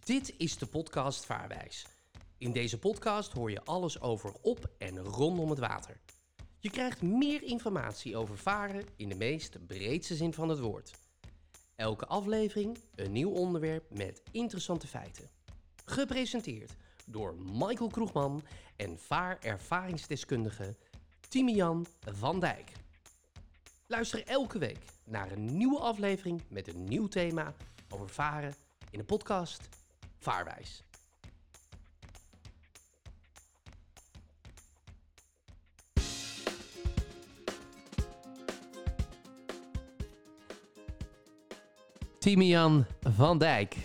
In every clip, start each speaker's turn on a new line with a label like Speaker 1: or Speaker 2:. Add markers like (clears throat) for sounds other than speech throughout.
Speaker 1: Dit is de podcast Vaarwijs. In deze podcast hoor je alles over op en rondom het water. Je krijgt meer informatie over varen in de meest breedste zin van het woord. Elke aflevering een nieuw onderwerp met interessante feiten. Gepresenteerd door Michael Kroegman en vaarervaringsdeskundige Timian van Dijk. Luister elke week naar een nieuwe aflevering met een nieuw thema over varen in de podcast Vaarwijs. Timian van Dijk,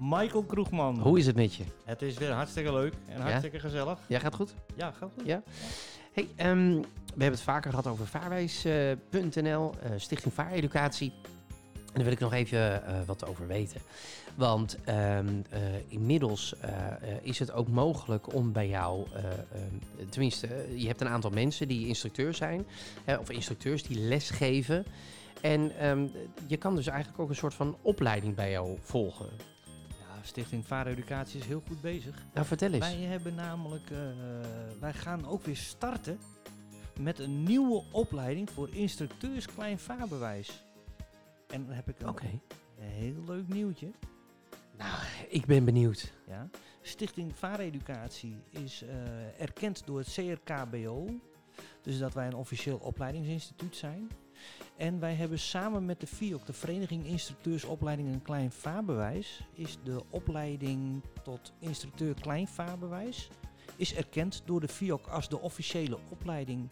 Speaker 2: Michael Kroegman.
Speaker 1: hoe is het met je?
Speaker 2: Het is weer hartstikke leuk en hartstikke gezellig.
Speaker 1: Jij gaat goed?
Speaker 2: Ja, gaat goed.
Speaker 1: Ja. Hey, ehm, we hebben het vaker gehad over eh, vaarwijs.nl, Stichting Vaareducatie. En daar wil ik nog even eh, wat over weten. Want ehm, eh, inmiddels eh, eh, is het ook mogelijk om bij jou, eh, ehm, tenminste, eh, je hebt een aantal mensen die instructeur zijn, hè, of instructeurs die lesgeven. En ehm, je kan dus eigenlijk ook een soort van opleiding bij jou volgen.
Speaker 2: Ja, Stichting Vaareducatie is heel goed bezig.
Speaker 1: Nou, vertel eens.
Speaker 2: Wij hebben namelijk, eh, wij gaan ook weer starten met een nieuwe opleiding voor instructeurs klein vaarbewijs. En dan heb ik een
Speaker 1: Oké.
Speaker 2: een heel leuk nieuwtje.
Speaker 1: Nou, ik ben benieuwd.
Speaker 2: Ja. Stichting Vaareducatie is eh, erkend door het CRKBO. Dus dat wij een officieel opleidingsinstituut zijn. En wij hebben samen met de VIOC, de Vereniging Instructeursopleiding en Klein Vaarbewijs, is de opleiding tot instructeur Klein Vaarbewijs is erkend door de VIOC als de officiële opleiding.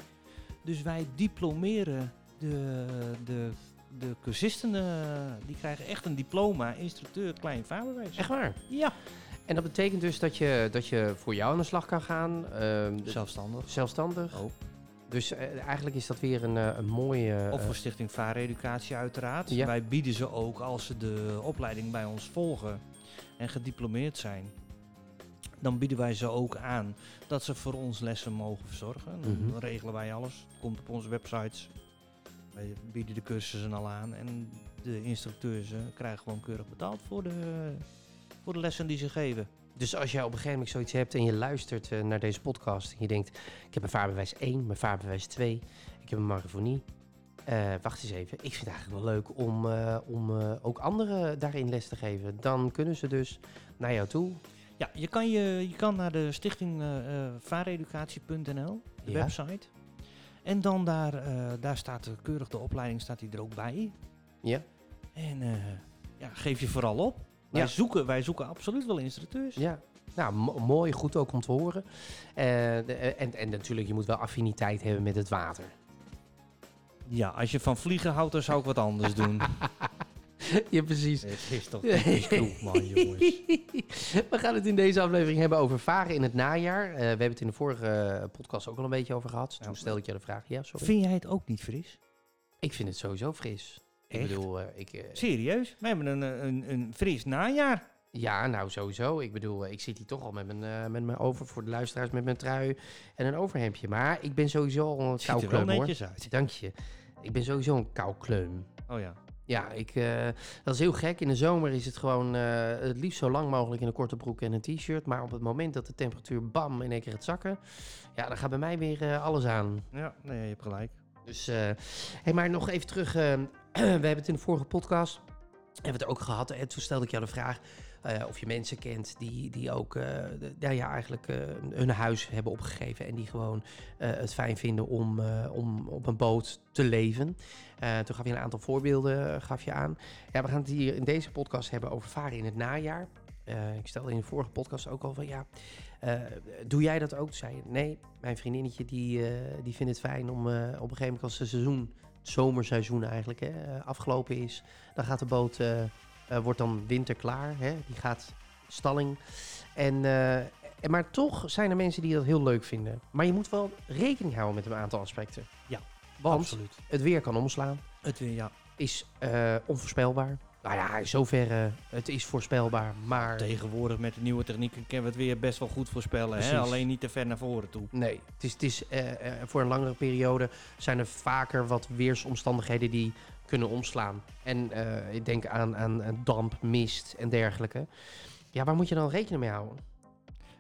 Speaker 2: Dus wij diplomeren de, de, de cursisten, eh, die krijgen echt een diploma instructeur Klein Vaarbewijs.
Speaker 1: Echt waar?
Speaker 2: Ja.
Speaker 1: En dat betekent dus dat je, dat je voor jou aan de slag kan gaan, ehm, de-
Speaker 2: Zelfstandig.
Speaker 1: zelfstandig.
Speaker 2: Oh.
Speaker 1: Dus eh, eigenlijk is dat weer een, eh, een mooie...
Speaker 2: Of
Speaker 1: eh,
Speaker 2: voor Stichting Vaareducatie uiteraard.
Speaker 1: Ja.
Speaker 2: Wij bieden ze ook als ze de opleiding bij ons volgen en gediplomeerd zijn. Dan bieden wij ze ook aan dat ze voor ons lessen mogen verzorgen. Dan
Speaker 1: Mhm.
Speaker 2: regelen wij alles. Het komt op onze websites. Wij bieden de cursussen al aan. En de instructeurs eh, krijgen gewoon keurig betaald voor de, voor de lessen die ze geven.
Speaker 1: Dus als jij op een gegeven moment zoiets hebt en je luistert eh, naar deze podcast... en je denkt, ik heb mijn vaarbewijs 1, mijn vaarbewijs 2, ik heb een maravonie. Eh, wacht eens even, ik vind het eigenlijk wel leuk om, eh, om eh, ook anderen daarin les te geven. Dan kunnen ze dus naar jou toe.
Speaker 2: Ja, je kan, je, je kan naar de stichting eh, eh, vaareducatie.nl, de
Speaker 1: Ja.
Speaker 2: website. En dan daar, eh, daar staat eh, keurig de opleiding staat die er ook bij.
Speaker 1: Ja.
Speaker 2: En eh, ja, geef je vooral op. Wij,
Speaker 1: Ja.
Speaker 2: zoeken, wij zoeken absoluut wel instructeurs.
Speaker 1: Ja, nou, mo- mooi, goed ook om te horen. Eh, de- eh, en, en natuurlijk, je moet wel affiniteit hebben met het
Speaker 2: (laughs)
Speaker 1: water.
Speaker 2: Ja, als je van vliegen houdt, dan zou ik wat anders doen.
Speaker 1: ja, precies.
Speaker 2: Het is toch
Speaker 1: Ja.
Speaker 2: typisch kroeg, (laughs) man, jongens.
Speaker 1: (laughs) We gaan het in deze aflevering hebben over varen in het najaar. Eh, we hebben het in de vorige eh, podcast ook al een beetje over gehad. Toen
Speaker 2: Ja.
Speaker 1: stelde ik je de vraag. Ja, sorry.
Speaker 2: Nou, Vind jij het ook niet fris?
Speaker 1: Ik vind het sowieso fris. Ik
Speaker 2: Echt?
Speaker 1: bedoel, eh, ik, eh,
Speaker 2: Serieus? Wij hebben een, eh, een, een fris najaar.
Speaker 1: ja, nou sowieso. Ik bedoel, eh, ik zit hier toch al met mijn, eh, met mijn over voor de luisteraars met mijn trui en een overhemdje. Maar ik ben sowieso al een
Speaker 2: Het ziet
Speaker 1: kou
Speaker 2: er wel
Speaker 1: kleum, hoor.
Speaker 2: netjes uit.
Speaker 1: Dank je. Ik ben sowieso een kou kleum.
Speaker 2: Oh ja.
Speaker 1: Ja, ik, eh, dat is heel gek. In de zomer is het gewoon eh, het liefst zo lang mogelijk in een korte broek en een t-shirt. Maar op het moment dat de temperatuur bam in één keer gaat zakken, ja, dan gaat bij mij weer eh, alles aan.
Speaker 2: Ja, nee, je hebt gelijk.
Speaker 1: Dus, eh, hey, maar nog even terug. eh, (clears throat) we hebben het in de vorige podcast hebben we het ook gehad. En toen stelde ik jou de vraag eh, of je mensen kent die, die ook eh, de- nou ja, eigenlijk eh, hun huis hebben opgegeven. En die gewoon eh, het fijn vinden om, eh, om op een boot te leven. Eh, toen gaf je een aantal voorbeelden eh, gaf je aan. Ja, we gaan het hier in deze podcast hebben over varen in het najaar. Eh, ik stelde in de vorige podcast ook al van ja, eh, doe jij dat ook? Toen zei je, nee, mijn vriendinnetje die, eh, die vindt het fijn om eh, op een gegeven moment als het seizoen, het zomerseizoen eigenlijk, hè, eh, afgelopen is. Dan gaat de boot, eh, eh, wordt dan winterklaar, hè, die gaat stalling. En, eh, en, maar toch zijn er mensen die dat heel leuk vinden. Maar je moet wel rekening houden met een aantal aspecten.
Speaker 2: Ja,
Speaker 1: Want
Speaker 2: Absoluut.
Speaker 1: het weer kan omslaan
Speaker 2: Het weer, ja.
Speaker 1: is eh, onvoorspelbaar. Nou ja, in zoverre, het is voorspelbaar, maar...
Speaker 2: Tegenwoordig met de nieuwe technieken kunnen we het weer best wel goed voorspellen. Hè?
Speaker 1: Precies.
Speaker 2: Alleen niet te ver naar voren toe.
Speaker 1: Nee, het is, het is, eh, eh, voor een langere periode zijn er vaker wat weersomstandigheden die kunnen omslaan. En eh, ik denk aan, aan, aan damp, mist en dergelijke. Ja, waar moet je dan rekening mee houden?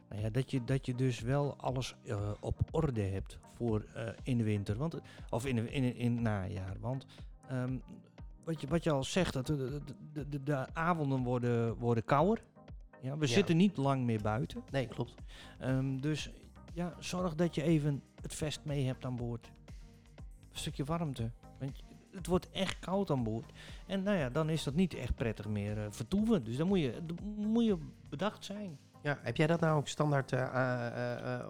Speaker 2: Nou ja, dat, je, dat je dus wel alles eh, op orde hebt voor eh, in de winter. Want, eh, of in, de, in, in, in het najaar. Want ehm, wat, je, wat je al zegt, dat de, de, de, de avonden worden, worden kouder. Ja, we
Speaker 1: Ja.
Speaker 2: zitten niet lang meer buiten.
Speaker 1: Nee, klopt.
Speaker 2: Ehm, dus ja, zorg dat je even het vest mee hebt aan boord. Een stukje warmte. Want je- het wordt echt koud aan boord. En nou ja, dan is dat niet echt prettig meer eh, vertoeven. Dus dan moet je, dan moet je bedacht zijn.
Speaker 1: Ja, heb jij dat nou ook standaard eh, a- eh, eh, eh,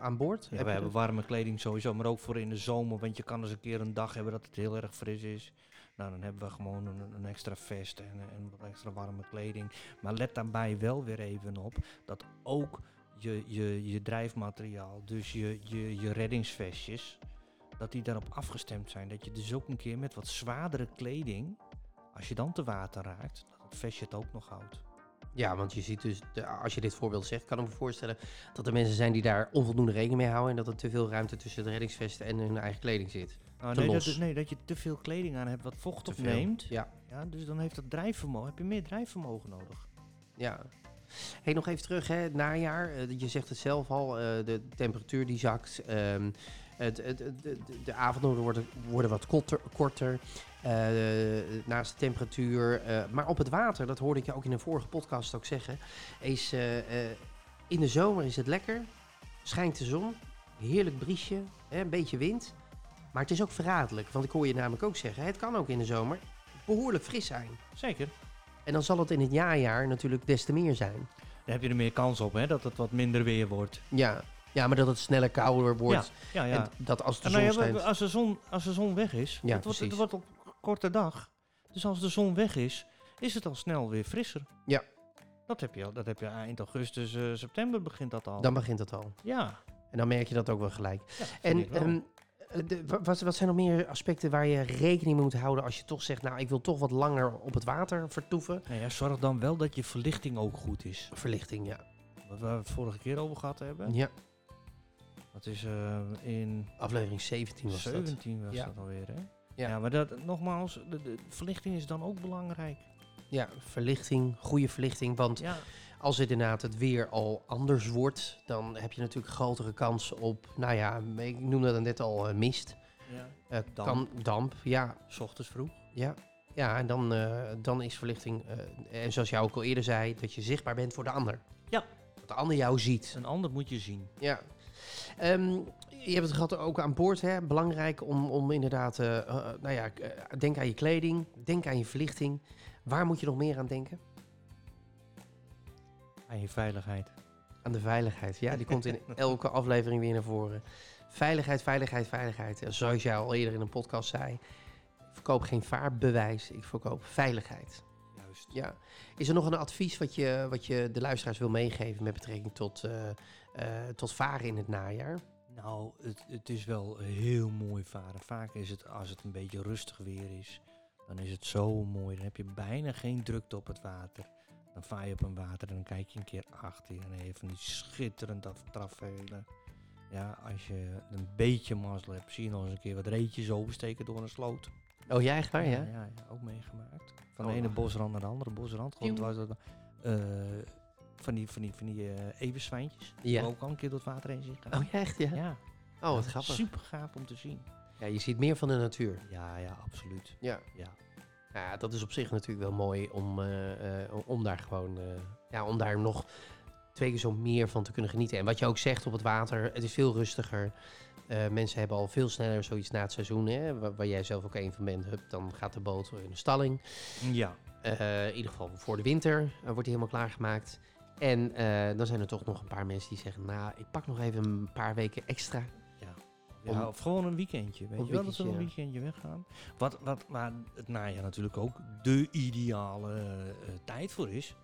Speaker 1: aan boord?
Speaker 2: Ja,
Speaker 1: Heb
Speaker 2: we
Speaker 1: je
Speaker 2: hebben
Speaker 1: dat?
Speaker 2: warme kleding sowieso, maar ook voor in de zomer. Want je kan eens een keer een dag hebben dat het heel erg fris is. Nou, dan hebben we gewoon een, een extra vest en, eh, en wat extra warme kleding. Maar let daarbij wel weer even op dat ook je, je, je drijfmateriaal, dus je, je, je reddingsvestjes, dat die daarop afgestemd zijn. Dat je dus ook een keer met wat zwaardere kleding, als je dan te water raakt, dat het vestje het ook nog houdt.
Speaker 1: ja, want je ziet dus, de- als je dit voorbeeld zegt, kan ik me voorstellen dat er mensen zijn die daar onvoldoende rekening mee houden. En dat er te veel ruimte tussen het reddingsvest en hun eigen kleding zit.
Speaker 2: Nou,
Speaker 1: Te
Speaker 2: nee,
Speaker 1: los.
Speaker 2: dat, nee, dat je te veel kleding aan hebt wat vocht
Speaker 1: Te veel.
Speaker 2: opneemt.
Speaker 1: Ja,
Speaker 2: Ja, dus dan heeft dat drijfvermogen, heb je meer drijfvermogen nodig.
Speaker 1: ja. Hey, nog even terug, hè, het najaar. Eh, je zegt het zelf al, eh, de temperatuur die zakt. ehm, het, het, het- de, de- de avonden worden, worden wat korter. korter eh, naast de temperatuur. eh, maar op het water, dat hoorde ik je ook in een vorige podcast ook zeggen. Is, eh, eh, in de zomer is het lekker. Schijnt de zon. Heerlijk briesje. Hè, een beetje wind. Maar het is ook verraderlijk. Want ik hoor je namelijk ook zeggen, het kan ook in de zomer behoorlijk fris zijn.
Speaker 2: Zeker.
Speaker 1: En dan zal het in het jaarjaar natuurlijk des te meer zijn.
Speaker 2: Daar heb je er meer kans op, hè, dat het wat minder weer wordt.
Speaker 1: Ja, ja maar dat het sneller kouder wordt.
Speaker 2: Ja, ja.
Speaker 1: En dat als de
Speaker 2: En
Speaker 1: zon
Speaker 2: nou ja, we-
Speaker 1: schijnt...
Speaker 2: we- als, de zon, als de zon weg is,
Speaker 1: Ja,
Speaker 2: het, wordt, het
Speaker 1: precies.
Speaker 2: wordt op korte dag. Dus als de zon weg is, is het al snel weer frisser.
Speaker 1: Ja.
Speaker 2: Dat heb je, al- dat heb je eind augustus, eh, september begint dat al.
Speaker 1: Dan begint het al.
Speaker 2: ja.
Speaker 1: En dan merk je oh. dat ook wel gelijk.
Speaker 2: ja vind ik
Speaker 1: En
Speaker 2: wel.
Speaker 1: ehm, eh, de- wa- wat, wat zijn nog meer aspecten waar je rekening mee moet houden als je toch zegt, nou ik wil toch wat langer op het water vertoeven?
Speaker 2: nou ja, zorg dan wel dat je verlichting ook goed is.
Speaker 1: Verlichting, ja.
Speaker 2: Wat we het vorige keer over gehad hebben.
Speaker 1: Ja,
Speaker 2: Dat is eh, in
Speaker 1: aflevering 17 was dat.
Speaker 2: 17 was
Speaker 1: Ja.
Speaker 2: dat alweer, hè?
Speaker 1: Ja.
Speaker 2: Ja, maar dat, nogmaals, de, de verlichting is dan ook belangrijk.
Speaker 1: Ja, verlichting, goede verlichting. Want
Speaker 2: Ja,
Speaker 1: als inderdaad het weer al anders wordt, dan heb je natuurlijk grotere kans op, nou ja, ik noemde dat net al eh, mist.
Speaker 2: ja.
Speaker 1: Eh,
Speaker 2: Damp.
Speaker 1: Kan, damp, ja.
Speaker 2: S ochtends vroeg.
Speaker 1: ja. Ja, en dan, eh, dan is verlichting, eh, en zoals jij ook al eerder zei, dat je zichtbaar bent voor de ander.
Speaker 2: Ja.
Speaker 1: Dat de ander jou ziet.
Speaker 2: Een ander moet je zien.
Speaker 1: Ja. Ehm, je hebt het gehad ook aan boord, hè? belangrijk om, om inderdaad, eh, eh, nou ja, eh, denk aan je kleding, denk aan je verlichting. Waar moet je nog meer aan denken?
Speaker 2: Aan je veiligheid.
Speaker 1: Aan de veiligheid, ja, die komt in elke aflevering weer naar voren. Veiligheid, veiligheid, veiligheid. En Zoals jij al eerder in een podcast zei, ik verkoop geen vaarbewijs, ik verkoop veiligheid.
Speaker 2: Juist.
Speaker 1: Ja. Is er nog een advies wat je, wat je de luisteraars wil meegeven met betrekking tot, eh, eh, tot varen in het najaar?
Speaker 2: Nou, het, het is wel heel mooi varen. Vaak is het, als het een beetje rustig weer is, dan is het zo mooi. Dan heb je bijna geen drukte op het water. Dan vaar je op een water en dan kijk je een keer achter je en dan heb je van die schitterend af- trafvelen. Ja, als je een beetje mazzel hebt, zie je nog eens een keer wat reetjes oversteken door een sloot.
Speaker 1: Oh, jij echt waar,
Speaker 2: ja,
Speaker 1: ja?
Speaker 2: ja, ook meegemaakt. Van
Speaker 1: Oh.
Speaker 2: de ene bosrand naar de andere bosrand. Gewoon
Speaker 1: Pjoem.
Speaker 2: dwars door de- eh, van die, van die, van die eh, everzwijntjes. Die
Speaker 1: Ja.
Speaker 2: ook al een keer door het water heen zien gaan.
Speaker 1: Oh, jij echt, Oh, ja?
Speaker 2: ja.
Speaker 1: Oh, wat grappig.
Speaker 2: Super gaaf om te zien.
Speaker 1: Ja, je ziet meer van de natuur.
Speaker 2: Ja, ja, absoluut.
Speaker 1: Ja.
Speaker 2: Ja.
Speaker 1: Nou Ja, dat is op zich natuurlijk wel mooi om, eh, eh, om daar gewoon, eh, ja, om daar nog twee keer zo meer van te kunnen genieten. En wat je ook zegt op het water, het is veel rustiger. Eh, mensen hebben al veel sneller zoiets na het seizoen, hè, waar, waar jij zelf ook een van bent. Hup, dan gaat de boot in de stalling.
Speaker 2: ja.
Speaker 1: Eh, in ieder geval voor de winter eh, wordt die helemaal klaargemaakt. En eh, dan zijn er toch nog een paar mensen die zeggen, nou, ik pak nog even een paar weken extra. Om-
Speaker 2: of gewoon een weekendje. Weet
Speaker 1: Een
Speaker 2: je wel dat we een
Speaker 1: weekendje,
Speaker 2: weekendje weggaan. Wat, wat, waar het najaar natuurlijk ook de ideale eh, tijd voor is.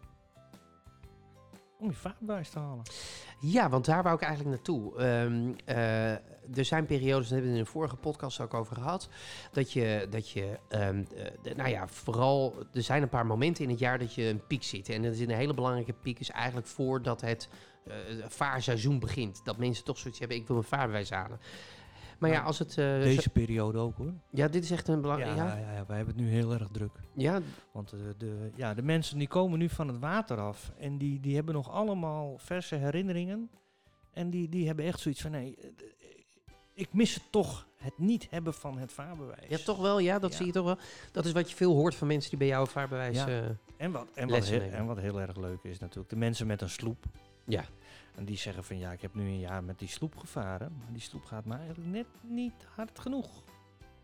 Speaker 2: Om je vaartbuis te halen.
Speaker 1: Dus- Ja, want daar wou ik eigenlijk naartoe. Ehm, eh, er zijn periodes, daar hebben we het in de vorige podcast ook over gehad, dat je, dat je ehm, eh, de- nou ja, vooral, er zijn een paar momenten in het jaar dat je een piek ziet. En dat is een hele belangrijke piek, is eigenlijk voordat het eh, vaarseizoen begint. Dat mensen toch zoiets hebben, ik wil mijn vaarbewijs halen. Maar ja,
Speaker 2: Maar
Speaker 1: als het... eh, zo-
Speaker 2: Nou, Deze periode ook hoor.
Speaker 1: ja, dit is echt een
Speaker 2: ja,
Speaker 1: belangrijk... Ja,
Speaker 2: ja, ja, wij hebben het nu heel erg druk.
Speaker 1: ja,
Speaker 2: Want eh, de, ja, de mensen die komen nu van het water af en die, die hebben nog allemaal verse herinneringen. En die, die hebben echt zoiets van, nee, eh, d- ik mis het toch, het niet hebben van het vaarbewijs.
Speaker 1: ja, toch wel. Ja, dat
Speaker 2: Ja.
Speaker 1: zie je toch wel. Dat is wat je veel hoort van mensen die bij jou een vaarbewijs...
Speaker 2: Ja.
Speaker 1: eh,
Speaker 2: En wat, en, wat
Speaker 1: Lessen
Speaker 2: heel,
Speaker 1: nemen.
Speaker 2: en wat heel erg leuk is natuurlijk, de mensen met een sloep.
Speaker 1: Ja.
Speaker 2: En die zeggen van, ja, ik heb nu een jaar met die sloep gevaren, maar die sloep gaat me eigenlijk net niet hard genoeg.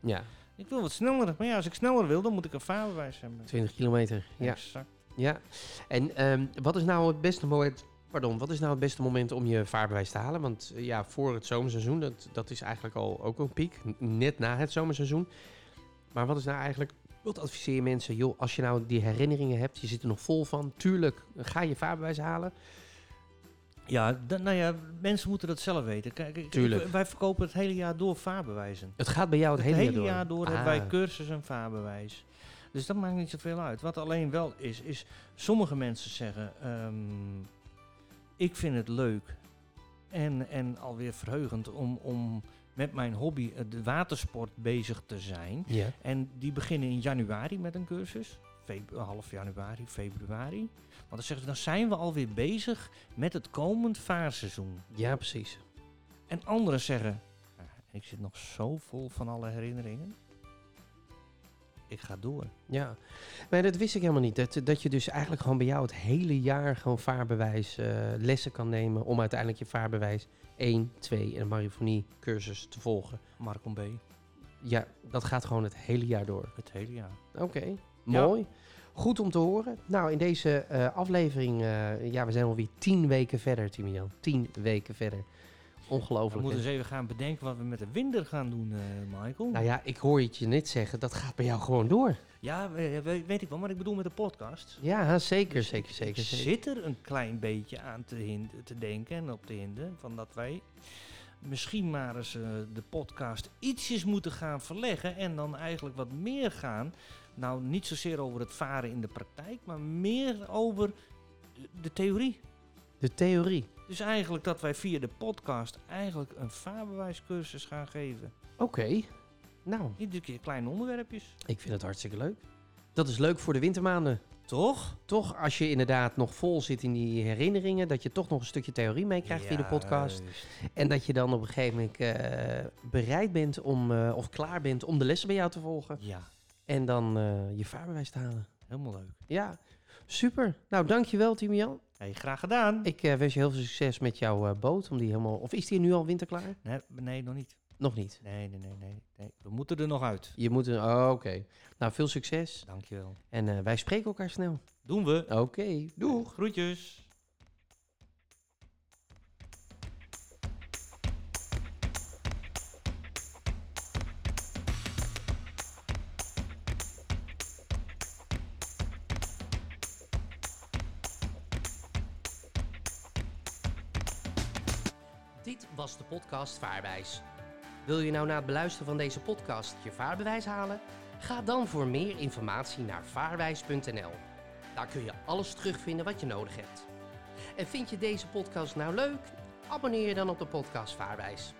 Speaker 1: ja,
Speaker 2: Ik wil wat sneller, maar ja, als ik sneller wil, dan moet ik een vaarbewijs hebben.
Speaker 1: 20 kilometer. Ja.
Speaker 2: Exact.
Speaker 1: Ja, en ehm, wat is nou het beste moment? Pardon, wat is nou het beste moment om je vaarbewijs te halen? Want eh, ja, voor het zomerseizoen, dat, dat is eigenlijk al ook een piek. n- Net na het zomerseizoen. Maar wat is nou eigenlijk. Wat adviseer je mensen? Joh, als je nou die herinneringen hebt, je zit er nog vol van. Tuurlijk, eh, ga je vaarbewijs halen.
Speaker 2: Ja, da- nou ja, mensen moeten dat zelf weten. Kijk, ik-
Speaker 1: Tuurlijk.
Speaker 2: ik- wij verkopen het hele jaar door vaarbewijzen.
Speaker 1: Het gaat bij jou het,
Speaker 2: Het hele,
Speaker 1: door.
Speaker 2: jaar door hebben
Speaker 1: Ah,
Speaker 2: wij cursus en vaarbewijs. Dus dat maakt niet zoveel uit. Wat alleen wel is, is sommige mensen zeggen... ehm, ik vind het leuk en, en alweer verheugend om, om met mijn hobby, eh, de watersport, bezig te zijn.
Speaker 1: Ja,
Speaker 2: En die beginnen in januari met een cursus. Feb- half januari, februari. Want dan zeggen ze, dan zijn we alweer bezig met het komend vaarseizoen.
Speaker 1: ja, precies.
Speaker 2: En anderen zeggen, "Ah, ik zit nog zo vol van alle herinneringen. Ik ga door.
Speaker 1: Ja, maar dat wist ik helemaal niet. Dat, dat je dus eigenlijk gewoon bij jou het hele jaar gewoon vaarbewijs eh, lessen kan nemen om uiteindelijk je vaarbewijs 1, 2 en een marifonie cursus te volgen.
Speaker 2: Marcom B,
Speaker 1: Ja, dat gaat gewoon het hele jaar door.
Speaker 2: het hele jaar.
Speaker 1: Oké, mooi. Goed om te horen. Nou, in deze eh, aflevering, eh, ja, we zijn alweer tien weken verder, Timian. Tien weken verder.
Speaker 2: We
Speaker 1: Ongelooflijk. hè?
Speaker 2: moeten eens even gaan bedenken wat we met de winder gaan doen, eh, Michael.
Speaker 1: Nou ja, ik hoor het je net zeggen, dat gaat bij jou gewoon door.
Speaker 2: ja, we- we- weet ik wel, maar ik bedoel met de podcast.
Speaker 1: Ja, zeker,
Speaker 2: Dus
Speaker 1: zeker,
Speaker 2: ik-
Speaker 1: zeker.
Speaker 2: Ik
Speaker 1: zeker.
Speaker 2: zit er een klein beetje aan te, hind- te denken en op te hinden. Van dat wij misschien maar eens eh, de podcast ietsjes moeten gaan verleggen. En dan eigenlijk wat meer gaan. Nou, niet zozeer over het varen in de praktijk, maar meer over de- de theorie.
Speaker 1: De theorie.
Speaker 2: Dus eigenlijk dat wij via de podcast eigenlijk een vaarbewijscursus gaan geven.
Speaker 1: Oké. Nou,
Speaker 2: Iedere keer kleine onderwerpjes.
Speaker 1: Ik vind het hartstikke leuk. Dat is leuk voor de wintermaanden.
Speaker 2: Toch?
Speaker 1: Toch, als je inderdaad nog vol zit in die herinneringen, dat je toch nog een stukje theorie meekrijgt via de podcast. En dat je dan op een gegeven moment eh, bereid bent om, eh, of klaar bent om de lessen bij jou te volgen.
Speaker 2: Ja,
Speaker 1: En dan eh, je vaarbewijs te halen.
Speaker 2: helemaal leuk.
Speaker 1: Ja, super. Nou, dankjewel Timian.
Speaker 2: Hey, graag gedaan.
Speaker 1: Ik eh, wens je heel veel succes met jouw eh, boot. Om die helemaal, of is die nu al winterklaar?
Speaker 2: Nee, nee, nog niet.
Speaker 1: Nog niet.
Speaker 2: Nee, nee, nee, nee, nee. We moeten er nog uit.
Speaker 1: Je moet een... oh, oké. Nou, veel succes.
Speaker 2: Dankjewel.
Speaker 1: En eh, wij spreken elkaar snel.
Speaker 2: Doen we.
Speaker 1: Oké, doeg.
Speaker 2: Groetjes.
Speaker 1: Dit was de podcast Vaarwijs. Wil je nou na het beluisteren van deze podcast je vaarbewijs halen? Ga dan voor meer informatie naar vaarwijs.nl. Daar kun je alles terugvinden wat je nodig hebt. En vind je deze podcast nou leuk? Abonneer je dan op de podcast Vaarwijs.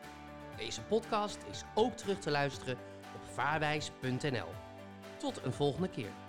Speaker 1: Deze podcast is ook terug te luisteren op vaarwijs.nl. Tot een volgende keer.